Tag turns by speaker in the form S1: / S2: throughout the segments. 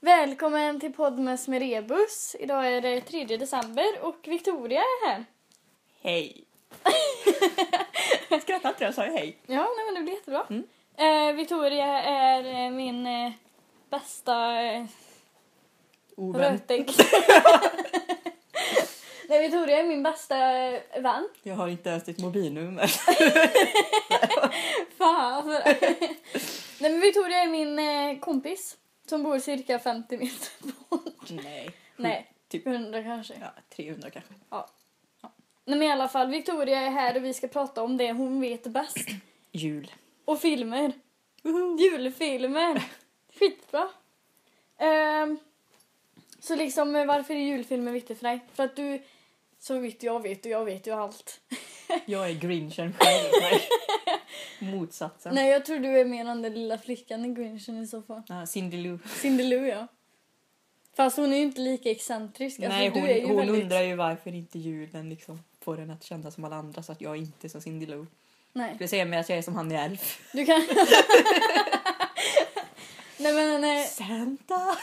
S1: Välkommen till Podmes med Rebus. Idag är det 3 december och Victoria är här.
S2: Hej! jag skrattade inte, jag sa ju hej.
S1: Ja, nej, men det blir jättebra.
S2: Mm.
S1: Eh, Victoria är eh, min eh, bästa eh,
S2: Oh,
S1: rötägg. nej, Victoria är min bästa eh, vän.
S2: Jag har inte ens ditt mobilnummer.
S1: Fan! för- nej, men Victoria är min eh, kompis som bor cirka 50 meter bort.
S2: Nej.
S1: Nej,
S2: Typ
S1: 100 kanske.
S2: ja, 300 kanske.
S1: Nej, men i alla fall, Victoria är här och vi ska prata om det hon vet bäst.
S2: Jul.
S1: Och filmer.
S2: Woho!
S1: Julfilmer! Skitbra! Ehm, så liksom, eh, varför är julfilmer viktigt för dig? För att du, så vitt jag vet, och jag vet ju allt.
S2: Jag är grinchen själv. Nej. Motsatsen.
S1: Nej, jag tror du är mer än den lilla flickan i Grinchen i så fall.
S2: Ja, Cindy Lou.
S1: Cindy Lou, ja. Fast hon är ju inte lika excentrisk. Alltså,
S2: Nej,
S1: du
S2: hon,
S1: är ju
S2: hon
S1: väldigt...
S2: undrar ju varför inte julen liksom får den att kännas som alla andra så att jag inte är som Cindy Lou.
S1: Nej,
S2: Jag skulle säga mer att jag är som han i Elf.
S1: du kan... nej, men nej,
S2: Santa!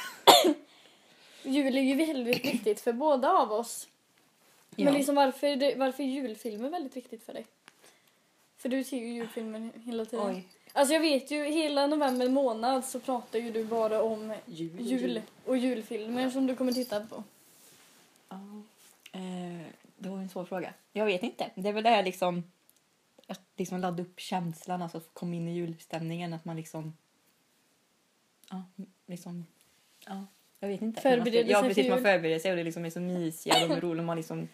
S1: jul är ju väldigt viktigt för båda av oss.
S2: Ja.
S1: Men liksom varför, är det, varför är julfilmer väldigt viktigt för dig? För du ser ju julfilmer hela tiden.
S2: Oj.
S1: Alltså jag vet ju, hela november månad så pratar ju du bara om
S2: Jul.
S1: jul och julfilmer som du kommer titta på.
S2: Ja. Eh, det var ju en svår fråga. Jag vet inte. Det är väl det här liksom att liksom ladda upp känslan, alltså att komma in i julstämningen, att man liksom... Ja, liksom... Ja, jag vet inte.
S1: Förbereder
S2: man
S1: sig
S2: ska, Ja,
S1: för
S2: precis. Man
S1: jul.
S2: förbereder sig och det liksom är så mysiga och de är roliga. och Man liksom,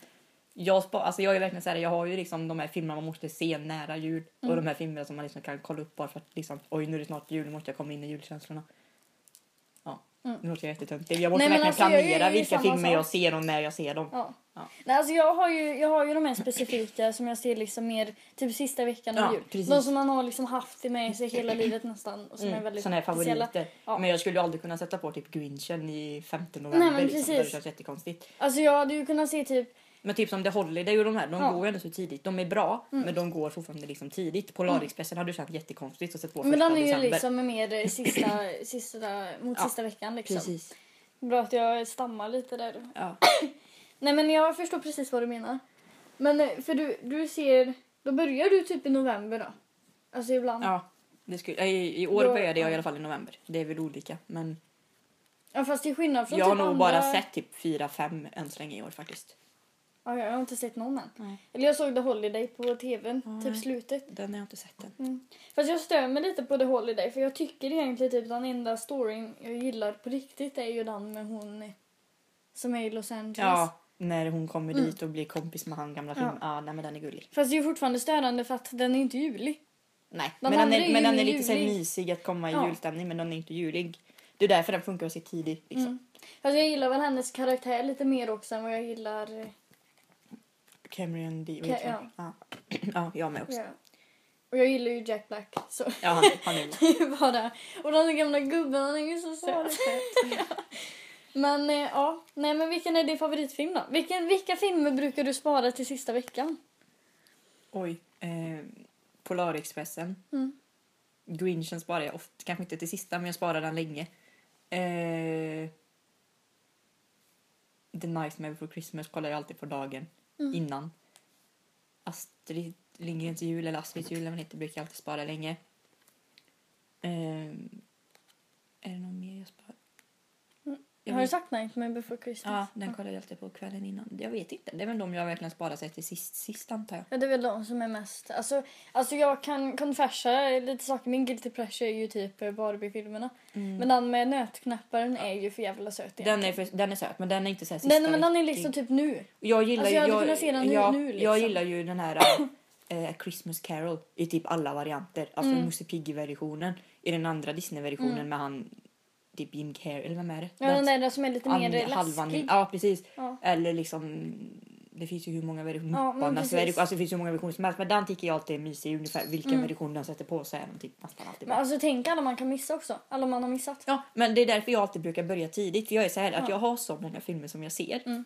S2: jag, spa, alltså jag är verkligen så här, jag har ju liksom de här filmerna man måste se nära jul
S1: Mm.
S2: och de här filmerna som man liksom kan kolla upp bara för att liksom, oj nu är det snart jul, nu måste jag komma in i julkänslorna. Ja,
S1: Mm.
S2: nu låter jag jättetöntig. Jag måste
S1: Nej, men
S2: verkligen
S1: alltså, jag är ju
S2: planera
S1: i
S2: vilka
S1: samma
S2: filmer
S1: sak.
S2: jag ser och när jag ser dem.
S1: Ja.
S2: Ja.
S1: Nej, alltså jag, har ju, jag har ju de här specifika som jag ser liksom mer typ sista veckan av
S2: Ja,
S1: jul.
S2: precis.
S1: De som man har liksom haft med sig hela livet nästan och som
S2: Mm,
S1: är väldigt
S2: såna här
S1: speciella.
S2: favoriter.
S1: Ja.
S2: Men jag skulle ju aldrig kunna sätta på typ Grinchen i 15 november.
S1: Nej, men
S2: liksom. Det
S1: precis.
S2: känns jättekonstigt.
S1: Alltså jag hade ju kunnat se typ
S2: Men typ som The Holiday och de här, de
S1: Ja.
S2: går ju ändå så tidigt. De är bra,
S1: Mm.
S2: men de går fortfarande liksom tidigt. Polarexpressen hade ju känts jättekonstigt att sätta på
S1: Men
S2: första
S1: den är ju
S2: december.
S1: liksom mer eh, sista, sista, mot
S2: Ja,
S1: sista veckan liksom.
S2: Precis.
S1: Bra att jag stammar lite där.
S2: Ja.
S1: Nej men jag förstår precis vad du menar. Men eh, för du, du ser, då börjar du typ i november då? Alltså ibland. Ja,
S2: ja. Det skulle, i, I år
S1: Då-
S2: började jag
S1: ja.
S2: i alla fall i november. Det är väl olika. Men
S1: fast till skillnad från
S2: jag har
S1: typ
S2: nog
S1: andra...
S2: bara sett typ 4-5 än så länge i år faktiskt.
S1: Ja, jag har inte sett någon än.
S2: Nej.
S1: Eller jag såg The Holiday på tvn,
S2: Nej.
S1: typ slutet.
S2: Den har jag inte sett än.
S1: Fast jag stör mig lite på The Holiday för jag tycker egentligen typ den enda storyn jag gillar på riktigt är ju den med hon eh, som är i Los Angeles.
S2: Ja, när hon kommer
S1: Mm.
S2: dit och blir kompis med han gamla
S1: Ja.
S2: film. Ja, nej, men den är gullig.
S1: Fast det är ju fortfarande störande för att den är inte julig.
S2: Nej,
S1: De
S2: men den
S1: andra är
S2: är,
S1: ju
S2: men den
S1: inne
S2: är
S1: i
S2: lite så här
S1: juli.
S2: mysig att komma i
S1: Ja.
S2: julstämning men den är inte julig. Det är därför den funkar att se tidigt. Liksom.
S1: Mm. Fast jag gillar väl hennes karaktär lite mer också än vad jag gillar... eh,
S2: Cameron D.
S1: Ca-
S2: Ca- ja. Ja. ja, jag med också.
S1: Ja. Och jag gillar ju Jack Black. Så
S2: Ja, han, han är
S1: det är bara... Och den gamla gubben, han är ju så söt. Men eh, ja, nej men vilken är din favoritfilm då? Vilken, vilka filmer brukar du spara till sista veckan?
S2: Oj. Eh, Polarexpressen.
S1: Mm.
S2: Grinchen sparar jag ofta. Kanske inte till sista men jag sparar den länge. Eh, The Nightmare Before Christmas kollar jag alltid på dagen
S1: Mm.
S2: innan. Astrid Lindgrens jul eller Astrids jul eller vad den heter brukar jag alltid spara länge. Ehm, är det någon mer jag sparar?
S1: Mm.
S2: Jag
S1: Har du
S2: vet-
S1: sagt Nightmare before Christmas?
S2: Ja, den kollar jag alltid på kvällen innan. Jag vet inte. Det är väl de jag verkligen sparar sig till sist, sist antar jag.
S1: Ja, det är väl de som är mest... Alltså, alltså jag kan confessa lite saker. Min guilty pleasure är ju typ eh, Barbie-filmerna. Men den med nötknäpparen är ju för jävla söt
S2: Mm. Den är, för, den är söt men den är inte så här sista
S1: Nej, nej, men den är liksom
S2: riktigt-
S1: typ nu.
S2: Jag gillar
S1: Alltså,
S2: ju,
S1: jag hade kunnat se den nu-
S2: jag,
S1: nu, liksom.
S2: jag gillar ju den här eh, A Christmas Carol i typ alla varianter. Alltså
S1: Mm.
S2: Musse Piggy-versionen. I den andra Disney-versionen
S1: Mm.
S2: med han typ Jim Carrey, eller vem är det?
S1: Ja, den där som är lite
S2: an-
S1: mer eh,
S2: halvan-
S1: läskig.
S2: Ja, precis.
S1: Ja.
S2: Eller liksom, det finns ju hur många versioner.
S1: Ja, men
S2: Mupparnas
S1: precis.
S2: version- alltså, det finns ju hur många versioner som helst. Men den tycker jag alltid är mysig. Ungefär vilken
S1: Mm.
S2: version den sätter på så är den typ nästan alltid bra.
S1: Men alltså tänk alla man kan missa också. Alla man har missat.
S2: Ja, men det är därför jag alltid brukar börja tidigt. För jag är så här
S1: Ja.
S2: att jag har så många filmer som jag ser.
S1: Mm.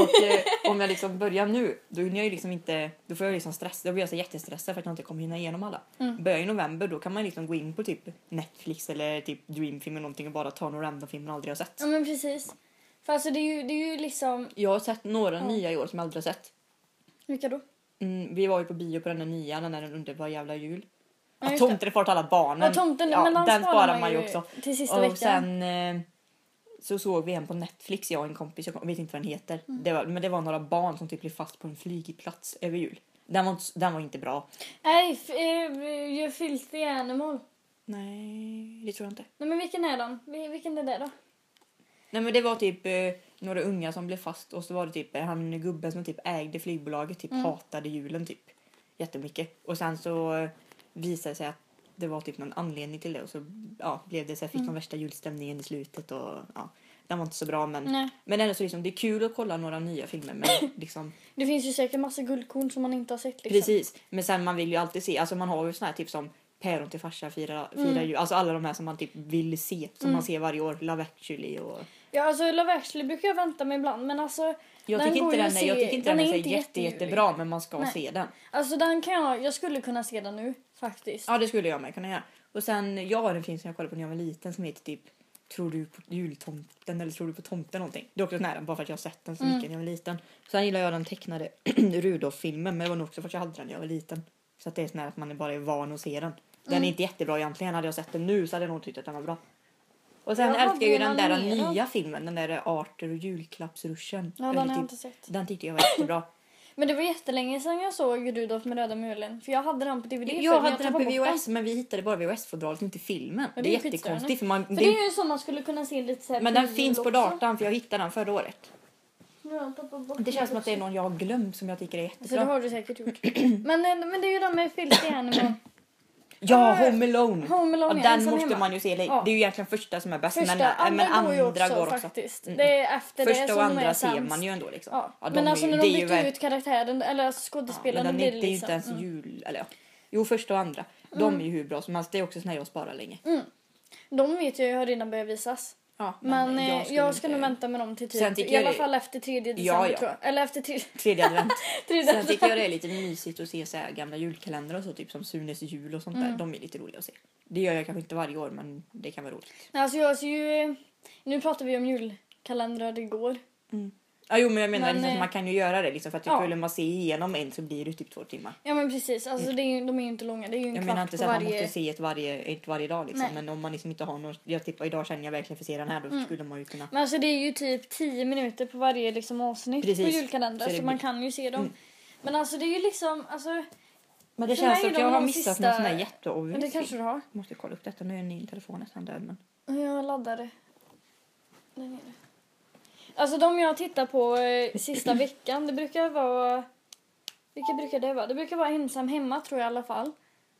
S2: eh, om jag liksom börjar nu, då hinner jag ju liksom inte, då får jag liksom stress, då blir jag så jättestressad för att jag inte kommer hinna igenom alla.
S1: Mm.
S2: Börjar i november då kan man liksom gå in på typ Netflix eller typ Dreamfilm eller någonting och bara ta några random filmer jag aldrig har sett.
S1: Ja men precis. För alltså det är ju, det är ju liksom...
S2: Jag har sett några
S1: Ja.
S2: nya i år som jag aldrig har sett.
S1: Vilka då?
S2: Mm, vi var ju på bio på den där nya, den där underbara jävla jul.
S1: Ja,
S2: Ja,
S1: just det.
S2: tomten är far till alla barnen.
S1: Ja, tomten,
S2: Ja,
S1: men han
S2: den sparar man ju också.
S1: till sista
S2: och
S1: veckan.
S2: sen eh, så såg vi en på Netflix, jag och en kompis, jag vet inte vad den heter. Det var, men det var några barn som typ blev fast på en flygplats över jul. Den var inte, den var inte bra.
S1: Nej, f- eh, ju Filthy Animal.
S2: Nej, det tror jag inte.
S1: Nej men vilken är den? Vil- Vilken är det då?
S2: Nej men det var typ eh, några unga som blev fast och så var det typ eh, han gubben som typ ägde flygbolaget typ
S1: Mm.
S2: hatade julen typ jättemycket. Och sen så eh, visade det sig att det var typ någon anledning till det och så ja, blev det så här, fick de värsta julstämningen i slutet och ja, den var inte så bra men
S1: Nej.
S2: Men ändå så liksom, det är kul att kolla några nya filmer. Men liksom,
S1: Det finns ju säkert massa guldkorn som man inte har sett liksom.
S2: precis. Men sen man vill ju alltid se. Alltså man har ju såna här typ som Päron till farsa firar fira
S1: Mm.
S2: jul. Alltså alla de här som man typ vill se. Som
S1: Mm.
S2: man ser varje år. Love actually och...
S1: Ja alltså Love actually brukar jag vänta mig ibland men alltså,
S2: Jag
S1: Den
S2: tycker
S1: går
S2: inte
S1: ju
S2: den,
S1: att
S2: är- jag
S1: se.
S2: tycker inte
S1: Den
S2: den är
S1: är
S2: så
S1: inte
S2: jätte,
S1: jättejulig.
S2: jättebra men man ska
S1: Nej.
S2: se den.
S1: alltså den kan jag, jag skulle kunna se den nu faktiskt.
S2: Ja det skulle jag med kunna göra. Och sen jag har en film som jag kollade på när jag var liten som heter typ Tror du på jultomten eller tror du på tomten någonting? Det är också nära bara för att jag har sett den så
S1: Mm.
S2: mycket när jag var liten. Sen gillar jag den tecknade Rudolf-filmen men det var nog också för att jag hade den när jag var liten. Så att det är sån här att man är bara är van att se den. Den är
S1: Mm.
S2: inte jättebra egentligen. Hade jag sett den nu så hade jag nog tyckt att den var bra. Och sen
S1: Jag
S2: älskar jag ju den
S1: hade
S2: där
S1: den animerad.
S2: nya filmen, den där Arthur och julklappsruschen.
S1: Ja den
S2: Eller
S1: har jag
S2: typ-
S1: inte sett.
S2: den tyckte jag var jättebra.
S1: Men det var jättelänge sedan jag såg Rudolf med röda mulen för jag hade den på DVD förr, men
S2: Jag hade den på
S1: tappade bort
S2: VHS men vi hittade bara VHS-fodralet, inte filmen.
S1: Ja,
S2: det,
S1: det
S2: är
S1: är skitstörande.
S2: jättekonstigt för, man,
S1: För
S2: det-
S1: det är ju en sån man skulle kunna se lite såhär
S2: men den finns på datorn för jag hittade den förra året. Det känns som att det är någon jag har glömt som jag tycker är
S1: Så det
S2: jättebra.
S1: har Alltså, du säkert gjort. men, eh, men det är ju de med Filthy Animal.
S2: Ja, Home Alone!
S1: Ah, Home
S2: Ja,
S1: Alone ja,
S2: den
S1: ensam
S2: måste
S1: hemma.
S2: man ju se. eller-
S1: Ja.
S2: Det är ju egentligen första som är bäst
S1: Första,
S2: men, äh,
S1: andra,
S2: men
S1: går ju
S2: andra
S1: också
S2: går också.
S1: faktiskt.
S2: Mm.
S1: Det är efter det
S2: Första och
S1: som de är
S2: andra ser
S1: sämst.
S2: man ju ändå liksom.
S1: Ja.
S2: Ja, de
S1: men
S2: är
S1: alltså
S2: ju-
S1: när de
S2: det är ju
S1: bytte
S2: verk-
S1: ut karaktären, eller alltså
S2: Ja,
S1: skådespelaren,
S2: men
S1: då blir
S2: den är,
S1: det
S2: det är ju inte
S1: liksom...
S2: ens
S1: mm.
S2: jul... Eller ja. Jo, första och andra. De är ju hur bra som helst. Det är också såna jag sparar länge.
S1: De vet jag ju har redan börjat visas.
S2: Ja,
S1: Men, eh, jag ska,
S2: inte-
S1: nog vänta med dem till
S2: Sen
S1: typ,
S2: tycker
S1: i
S2: jag
S1: alla
S2: det-
S1: fall efter tredje
S2: Ja,
S1: december
S2: ja.
S1: tror jag. Eller efter tredje...
S2: Tredje advent.
S1: tredje
S2: Sen tycker jag
S1: december.
S2: det är lite mysigt att se så här gamla julkalendrar och så, typ som Sunes jul och sånt där.
S1: Mm.
S2: De är lite roliga att se. Det gör jag kanske inte varje år, men det kan vara roligt.
S1: Nej, Alltså jag ser ju... eh, Nu pratade vi om julkalendrar igår.
S2: Ja, jo, men jag menar
S1: Men,
S2: liksom, att
S1: eh,
S2: man kan ju göra det liksom, för att det är
S1: ja.
S2: kul om man ser igenom en så blir det typ två timmar.
S1: Ja men precis, alltså det är ju, de är ju inte långa. Det är ju en
S2: Mm. Jag menar
S1: kvart
S2: inte
S1: på
S2: så att man
S1: varje...
S2: måste se ett varje, ett varje dag liksom,
S1: Nej.
S2: men om man liksom inte har någon, jag tippar idag känner jag verkligen för att se den här, då skulle man ju kunna.
S1: Men alltså det är ju typ 10 minuter på varje liksom avsnitt
S2: Precis.
S1: på julkalendern
S2: Så
S1: så,
S2: det
S1: man
S2: blir-
S1: kan ju se dem.
S2: Mm.
S1: Men alltså det är ju liksom, alltså,
S2: Men
S1: För
S2: det känns
S1: mig
S2: som att
S1: är de
S2: jag har
S1: de
S2: missat
S1: sista-
S2: någon sån här
S1: men det
S2: jätteobvious
S1: kanske
S2: kanske...
S1: du har.
S2: Måste kolla upp detta, nu är min telefon nästan död men.
S1: Jag laddar det. Där nere. Alltså de jag tittar på eh, sista veckan, det brukar vara... Vilka brukar det vara? Det brukar vara ensam hemma tror jag i alla fall.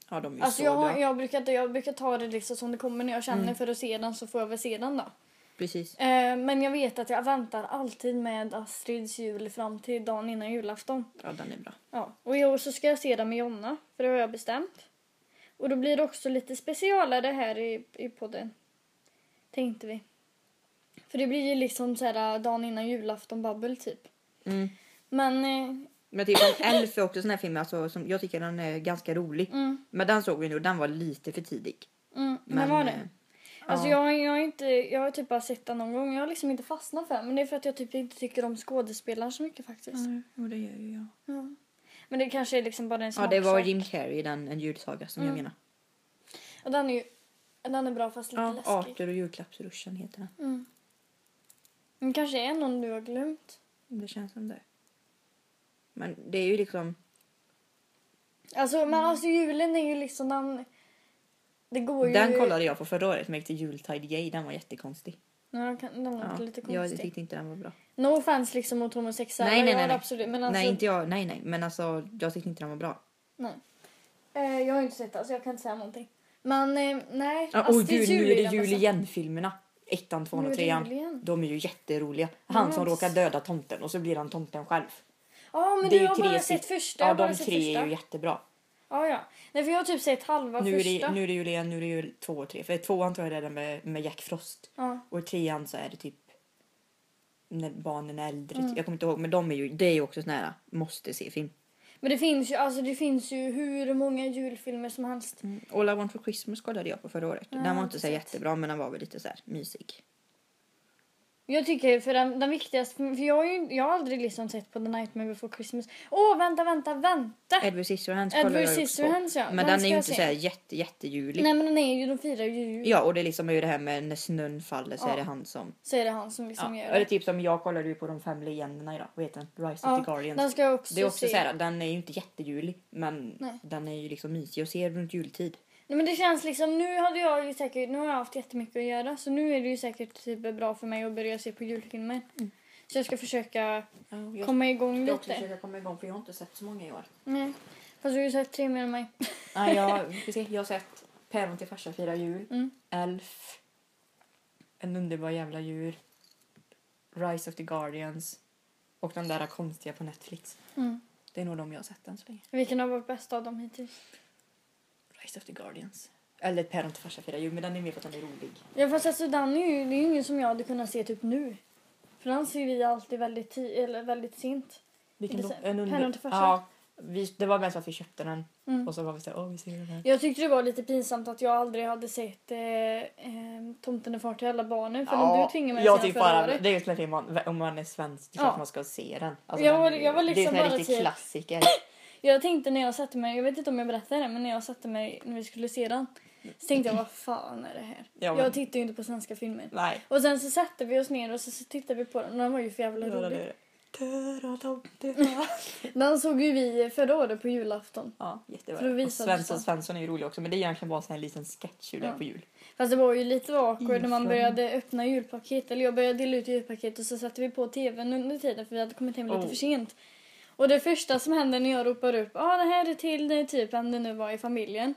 S2: Ja, de är ju
S1: Alltså
S2: så
S1: jag, har,
S2: bra.
S1: jag, brukar, inte- jag brukar ta det liksom som det kommer när jag känner
S2: Mm.
S1: för att se den så får jag väl se den då.
S2: Precis.
S1: Eh, men jag vet att jag väntar alltid med Astrids jul fram till dagen innan julafton.
S2: Ja, den är bra.
S1: Ja, och i år så ska jag se den med Jonna, för det har jag bestämt. Och då blir det också lite specialare här i, i podden. Tänkte vi. För det blir ju liksom så här äh, dagen innan julafton babbel typ.
S2: Mm.
S1: Men, eh,
S2: Men typ om Elf är också en sån här film alltså, som jag tycker den är ganska rolig.
S1: mm,
S2: Men den såg vi nu och den var lite för tidig.
S1: mm, men var
S2: eh,
S1: det? Alltså
S2: ja.
S1: jag, jag, har inte, jag har typ bara sett den någon gång. Jag har liksom inte fastnat för den. Men det är för att jag typ inte tycker om skådespelaren så mycket faktiskt.
S2: Ja, jo, det gör ju jag.
S1: Ja. Men det kanske är liksom bara en
S2: Ja,
S1: smaksak.
S2: det var Jim Carrey, den En julsaga som
S1: Mm,
S2: jag menar.
S1: Och den är ju, den är bra fast lite
S2: Ja,
S1: läskig.
S2: Arthur och julklappsruschen heter den.
S1: Mm. Men kanske är någon du har glömt.
S2: Det känns som det. Men det är ju liksom...
S1: Alltså,
S2: Mm.
S1: men alltså julen är ju liksom den... Det går ju...
S2: Den kollade jag på förra året men gick till Jultide Gay. Den var jättekonstig.
S1: Ja, den kan, den låter
S2: Ja,
S1: lite
S2: jag
S1: konstig.
S2: tyckte inte den var bra.
S1: No offense liksom mot homosexuella.
S2: Nej, nej,
S1: jag
S2: nej,
S1: har
S2: nej.
S1: Absolut, men alltså,
S2: Nej, inte jag. Nej, nej. Men alltså, jag tyckte inte den var bra.
S1: nej. Eh, jag har inte sett den så jag kan inte säga någonting. Men eh, nej,
S2: Ja, och gud, nu är det
S1: den
S2: jul
S1: bästa.
S2: igen-filmerna. Ettan, tvåan
S1: alltså. Nu
S2: och
S1: är det
S2: trean.
S1: jul igen.
S2: De är ju jätteroliga. Han som
S1: Yes.
S2: råkar döda tomten och så blir han tomten själv.
S1: Ja, men
S2: Det är
S1: du
S2: ju
S1: har
S2: tre
S1: bara
S2: styck-
S1: sett första. jag
S2: Ja,
S1: har bara
S2: de
S1: sett
S2: tre är
S1: första.
S2: ju jättebra.
S1: Ja, ja. Nej, för jag har typ sett halva
S2: Nu är,
S1: första.
S2: det, nu är det jul igen, nu är det jul två och tre. För tvåan tror jag det är den med, med Jack Frost.
S1: Ja.
S2: Och i trean så är det typ... när barnen är äldre.
S1: Mm.
S2: Jag kommer inte ihåg, men de är ju, det är ju också sån här måste se-film.
S1: Men det finns ju, alltså det finns ju hur många julfilmer som helst.
S2: Mm. All I want for Christmas kollade jag på förra året.
S1: Ja,
S2: den var inte så
S1: precis.
S2: jättebra men den var väl lite så här mysig.
S1: Jag tycker för den, den viktigaste, för jag har ju jag har aldrig liksom sett på The Nightmare Before Christmas. Åh, vänta, vänta, vänta!
S2: Edward Scissorhands kollade
S1: Edward
S2: jag också på.
S1: Scissorhands ja.
S2: Men den, är
S1: ska
S2: ju
S1: jag
S2: inte
S1: se.
S2: så här jätte, jättejulig.
S1: Nej men den är ju, de firar ju jul.
S2: Ja och det är liksom ju det här med när snön faller så
S1: Ja.
S2: är det han som...
S1: Så är det han som liksom
S2: Ja.
S1: gör
S2: Eller
S1: det.
S2: typ som jag kollade ju på de fem lejenderna idag. Vad heter den? Rise
S1: Ja,
S2: of the Guardians.
S1: Den ska jag också,
S2: Det är också
S1: se.
S2: så här, den är ju inte jättejulig men
S1: Nej.
S2: den är ju liksom mysig att se runt jultid.
S1: Nej men det känns liksom, nu hade jag ju säkert, nu har jag haft jättemycket att göra så nu är det ju säkert typ bra för mig att börja se på julfilmer.
S2: Mm.
S1: Så jag ska försöka komma igång lite.
S2: komma igång för jag har inte sett så många i år.
S1: Nej. Fast du har ju sett tre mer än mig.
S2: Nej, jag, vi får se, jag har sett Päron till farsa fira jul,
S1: Mm.
S2: Elf, En underbar jävla djur, Rise of the Guardians och den där konstiga på Netflix.
S1: Mm.
S2: Det är nog de jag har sett än så länge.
S1: Vilken har varit bäst av dem hittills?
S2: Rise of the Guardians. Eller Päron till farsa fira jul, men den är mer för att den är rolig.
S1: Ja fast alltså den är ju, det är ju ingen som jag hade kunnat se typ nu. För den ser vi alltid väldigt, ti- eller väldigt sent.
S2: Vilken
S1: Det är
S2: då?
S1: så-
S2: En under...
S1: Päron till farsa.
S2: Ja, vi, det var mest för att vi köpte den
S1: Mm.
S2: och så var vi så här, åh vi ser den här.
S1: Jag tyckte det var lite pinsamt att jag aldrig hade sett eh, eh, Tomten är far till alla barnen. För du tvingade mig att
S2: jag
S1: se den
S2: tycker
S1: förra
S2: bara,
S1: året.
S2: det är just när man, om man är svensk, det är
S1: Ja.
S2: klart man ska se den. Alltså,
S1: Jag
S2: den
S1: var-
S2: är ju-
S1: jag var
S2: det är
S1: liksom
S2: en sån
S1: bara
S2: här riktig
S1: typ-
S2: klassiker.
S1: Jag tänkte när jag satte mig, jag vet inte om jag berättade det, men när jag satte mig när vi skulle se den så tänkte jag vad fan är det här?
S2: Ja, men-
S1: Jag typ- tittar ju inte på svenska filmer.
S2: Nej.
S1: Och sen så satte vi oss ner och så, så tittade vi på den och den var ju för jävla rolig. Den såg ju vi förra året på julafton.
S2: Ja, jättebra.
S1: För att
S2: Och
S1: visa
S2: Svensson
S1: det.
S2: Svensson är ju rolig också men det är egentligen bara en sån här liten sketch hur det är
S1: Ja.
S2: på jul.
S1: Fast det var ju lite awkward när man
S2: Ifrån.
S1: började öppna julpaket. Eller jag började dela ut julpaket och så satte vi på tvn under tiden för vi hade kommit hem lite
S2: Oh.
S1: för sent. Och det första som händer när jag ropar upp ah, det här är till eh, typ vem det nu var i familjen.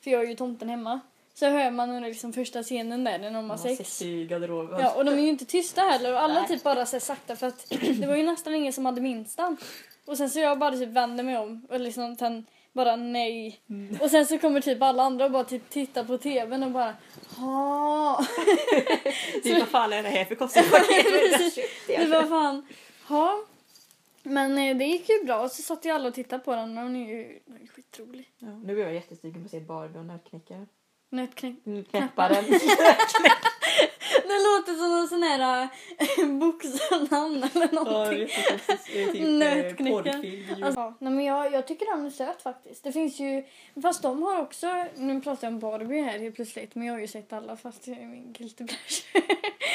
S1: För jag är ju tomten hemma. Så hör man under liksom första scenen där när de har sex.
S2: i garderoben.
S1: Ja, och de är ju inte tysta heller och alla
S2: Nej.
S1: typ bara så här sakta för att det var ju nästan ingen som hade minsta. Och sen så jag bara typ vänder mig om och liksom sen bara nej. Och sen så kommer typ alla andra och bara typ tittar på tvn och bara ha.
S2: Typ, vad fan är det här för kostnadspaket?
S1: Precis. Det var fan ha. Men eh, det gick ju bra och så satt ju alla och tittade på den och hon är ju den är ju skitrolig.
S2: Ja, nu blir jag jättesugen på att se Barbie och nötknäckaren.
S1: Nötknäck.
S2: Knäpparen.
S1: Det låter som någon sån här eh, boxarnamn eller någonting.
S2: typ, eh,
S1: Nötknäckaren. Alltså, ja, nej, men jag, jag tycker den är söt faktiskt. Det finns ju, fast de har också, nu pratar jag om Barbie här helt plötsligt, men jag har ju sett alla fast det är min guilty pleasure.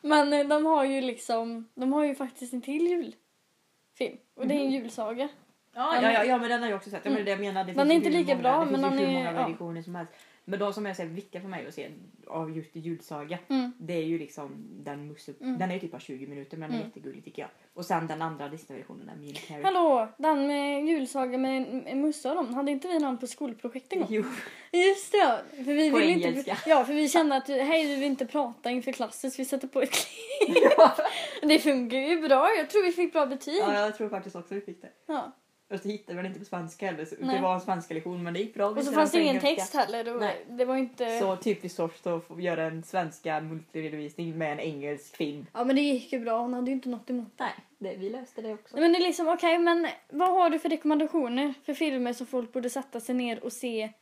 S1: men eh, de har ju liksom, de har ju faktiskt en till julfilm. Och det är en julsaga.
S2: Ja, ja, ja, ja, men den har jag också sett. Ja, men det är det jag menar, det
S1: Mm. Den är
S2: finns
S1: inte
S2: hur
S1: lika
S2: många,
S1: bra,
S2: det finns
S1: men
S2: ju
S1: den
S2: hur
S1: är-
S2: många
S1: ja.
S2: versioner som helst. Men de som är så här viktiga för mig att se av just julsaga
S1: Mm.
S2: Det är ju liksom den musse...
S1: Mm.
S2: Den är ju typ bara 20 minuter men den är
S1: Mm.
S2: jättegullig tycker jag. Och sen den andra Disney-versionen, den Mean Carrie.
S1: Hallå, den med julsaga med, med Musse och dem, hade inte vi någon på skolprojekt en gång?
S2: Jo,
S1: Just det, ja. För vi
S2: På
S1: ville inte,
S2: engelska.
S1: ja, för vi kände att hej, vi vill inte prata inför klassen så vi sätter på ett klipp.
S2: ja,
S1: Det funkar ju bra, jag tror vi fick bra betyg.
S2: jag tror faktiskt också vi fick det.
S1: Ja.
S2: Och så hittade vi den inte på svenska heller. Så
S1: Nej.
S2: det var en svenska lektion men det gick bra. Vi
S1: Och så
S2: kör
S1: fanns det
S2: den på
S1: ingen
S2: engelska.
S1: text heller. Och
S2: Nej.
S1: det var inte...
S2: Så typiskt oss att få göra en svenska multiredovisning med en engelsk film.
S1: Ja men det gick ju bra, hon hade ju inte något emot.
S2: Nej, det, vi löste det också.
S1: Nej, men det är liksom, okej men vad har du för rekommendationer för filmer som folk borde sätta sig ner och se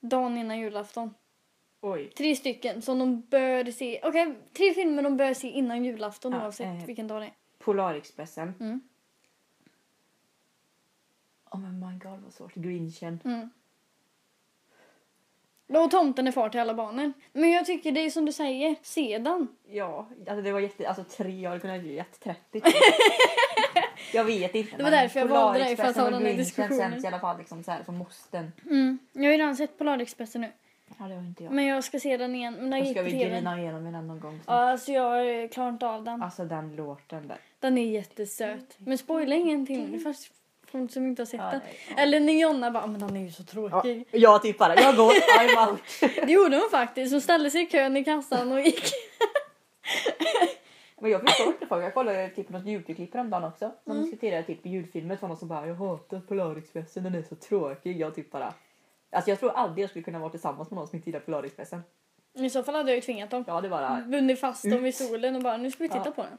S1: dagen innan julafton?
S2: Oj.
S1: Tre stycken som de bör se. Okej, tre filmer de bör se innan julafton
S2: Ja,
S1: oavsett
S2: eh.
S1: vilken dag det är.
S2: Polarexpressen.
S1: Mm.
S2: Oh men my god vad svårt. Grinchen.
S1: Mm. Och tomten är far till alla barnen. Men jag tycker det är som du säger, sedan.
S2: Ja, alltså det var jätte... Alltså tre, jag hade kunnat ge 30. jag vet inte.
S1: Det var
S2: men
S1: därför jag valde dig, för att ha
S2: Polarexpressen och
S1: den här
S2: Grinchen
S1: diskussionen.
S2: känns i alla fall liksom så här för måsten.
S1: Mm. Jag har ju redan sett Polarexpressen nu.
S2: Ja, det har inte jag.
S1: Men jag ska se den igen. Men den
S2: Då
S1: gick
S2: ska
S1: på
S2: vi
S1: tv.
S2: grina igenom den någon gång.
S1: Ja, alltså jag eh, klarar inte av den.
S2: Alltså den låten där.
S1: Den är jättesöt. Men spoila ingenting nu fast folk som inte har sett
S2: Mm. Ja,
S1: den.
S2: nej, ja.
S1: Eller när Jonna bara, "Ah, men den är ju så tråkig.
S2: Ja, jag tippar det. Jag går. I'm out.
S1: Det gjorde hon faktiskt. Hon ställde sig i kön i kassan och gick.
S2: Men jag förstår inte folk. Jag kollade typ något Youtube-klipp häromdagen också. De
S1: Mm.
S2: diskuterade typ julfilmer. Det var någon som bara jag hatar Polarexpressen. Den är så tråkig. Jag typ bara. Alltså jag tror aldrig jag skulle kunna vara tillsammans med någon som inte gillar Polarexpressen.
S1: I så fall hade jag ju tvingat dem. Mm.
S2: Ja det bara.
S1: Bundit fast dem
S2: Ut.
S1: i solen och bara, nu ska vi titta
S2: Ja.
S1: på den.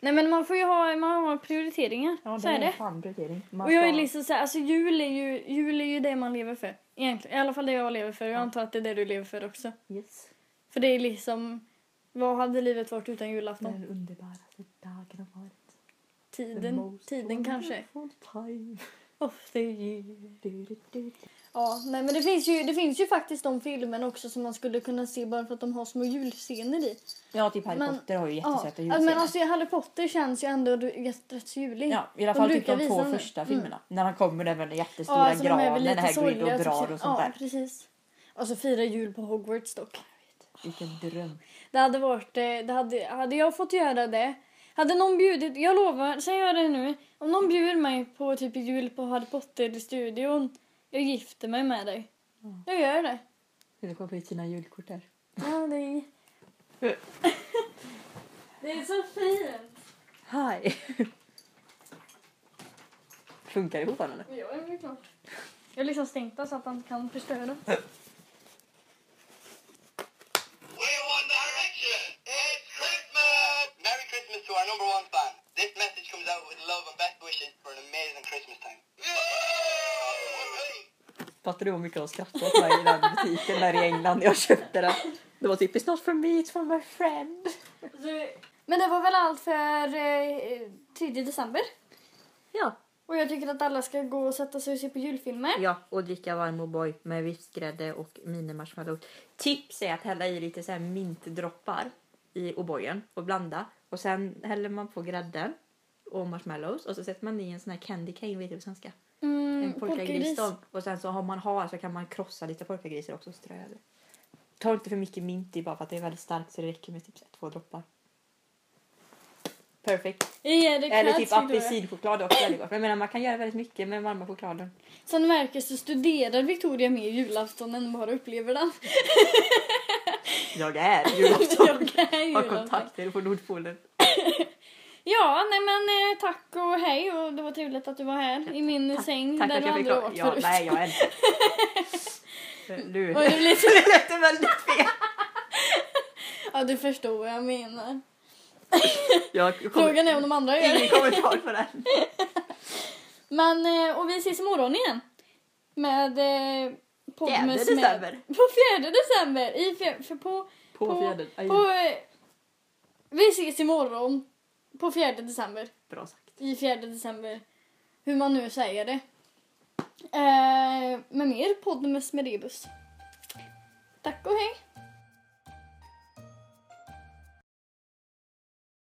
S1: Nej men man får ju ha, man har prioriteringar.
S2: Ja,
S1: så är det.
S2: fan prioritering. Man
S1: Och jag är
S2: ska-
S1: liksom så här, alltså jul är ju, jul är ju det man lever för. Egentligen. I alla fall det jag lever för. Jag
S2: Ja.
S1: antar att det är det du lever för också.
S2: Yes.
S1: För det är liksom, vad hade livet varit utan julafton?
S2: Den underbaraste dagen av året. The
S1: Tiden,
S2: most
S1: tiden kanske.
S2: wonderful time.
S1: Ofta jul.
S2: Du, du, du, du.
S1: Ja, nej men det finns, ju, det finns ju faktiskt de filmerna också som man skulle kunna se bara för att de har små julscener i.
S2: Ja, typ Harry
S1: Men-
S2: Potter har ju
S1: Ja,
S2: jättesöta
S1: ja, men
S2: julscener.
S1: alltså Harry Potter känns ju ändå rätt rätt så julig.
S2: Ja, i alla
S1: de
S2: fall typ
S1: brukar
S2: de två
S1: visa den.
S2: första
S1: Mm.
S2: filmerna. När han kommer där med den jättestora
S1: Ja, alltså, de är väl
S2: granen,
S1: lite
S2: den här Grid
S1: sorgliga,
S2: och drar
S1: typ.
S2: och sånt
S1: ja,
S2: där.
S1: precis. Och så fira jul på Hogwarts dock.
S2: Vilken dröm.
S1: Det hade varit, eh, det hade, hade jag fått göra det, hade någon bjudit, jag lovar, säger jag det nu, om någon bjuder mig på typ jul på Harry Potter-studion, jag gifter mig med dig.
S2: Mm.
S1: Jag gör det.
S2: Ska du kolla på ut sina julkort här?
S1: Ja, det är... det är så fint.
S2: Hi! Funkar det fortfarande eller?
S1: Ja, det är klart. Jag har liksom stängt det så att han inte kan förstöra.
S3: We're One Direction. It's Christmas. Merry Christmas to our number one fan. This message comes out with love and best wishes for an amazing Christmas time.
S2: Fattar du hur mycket de skrattade åt mig i den här butiken där i England när jag köpte den? Det var typ “It's not for me, it's for my friend”.
S1: Men det var väl allt för eh, 3 december.
S2: Ja,
S1: Och jag tycker att alla ska gå och sätta sig och se på julfilmer.
S2: ja och dricka varm O'boy med vispgrädde och minimarshmallows. Tips är att hälla i lite så här mintdroppar i O'boyen och blanda. Och sen häller man på grädden och marshmallows och så sätter man i en sån här candy cane, vad heter det på svenska?
S1: Mm,
S2: En polkagris.
S1: polkagris.
S2: då. Och sen så har man har så kan man krossa lite polkagrisar också och strö över. Ta inte för mycket mint i bara för att det är väldigt starkt så det räcker med typ så här två droppar. Perfekt.
S1: Erik
S2: Eller
S1: Kratz
S2: typ
S1: gjorde det.
S2: apelsinchoklad är också väldigt gott. Men jag menar man kan göra väldigt mycket med varma chokladen.
S1: Som du märker så studerar Victoria mer julafton än bara upplever den.
S2: Jag är julafton.
S1: jag är
S2: Har
S1: julafton.
S2: kontakter på Nordpolen.
S1: Ja, nej men eh, tack och hej och det var trevligt att du var här i min säng
S2: Tack
S1: där
S2: att
S1: du
S2: jag fick
S1: aldrig åkt
S2: lov. Ja,
S1: förut.
S2: nej jag älskar. Nu
S1: Var det lite...
S2: det lät det väldigt fel.
S1: Ja, du förstår vad jag menar.
S2: Jag kommer,
S1: Frågan är om de andra gör
S2: ingen
S1: det.
S2: kommentar på den.
S1: Men, eh, och vi ses imorgon igen. Med eh, podd
S2: Fjärde
S1: med Smed-
S2: december.
S1: På fjärde december. I fj- för på,
S2: På
S1: På-
S2: fjärden. Aj,
S1: på, eh, vi ses imorgon på fjärde december.
S2: Bra sagt.
S1: I fjärde december. Hur man nu säger det. Eh, med mer podd med Smedebus. Tack och hej.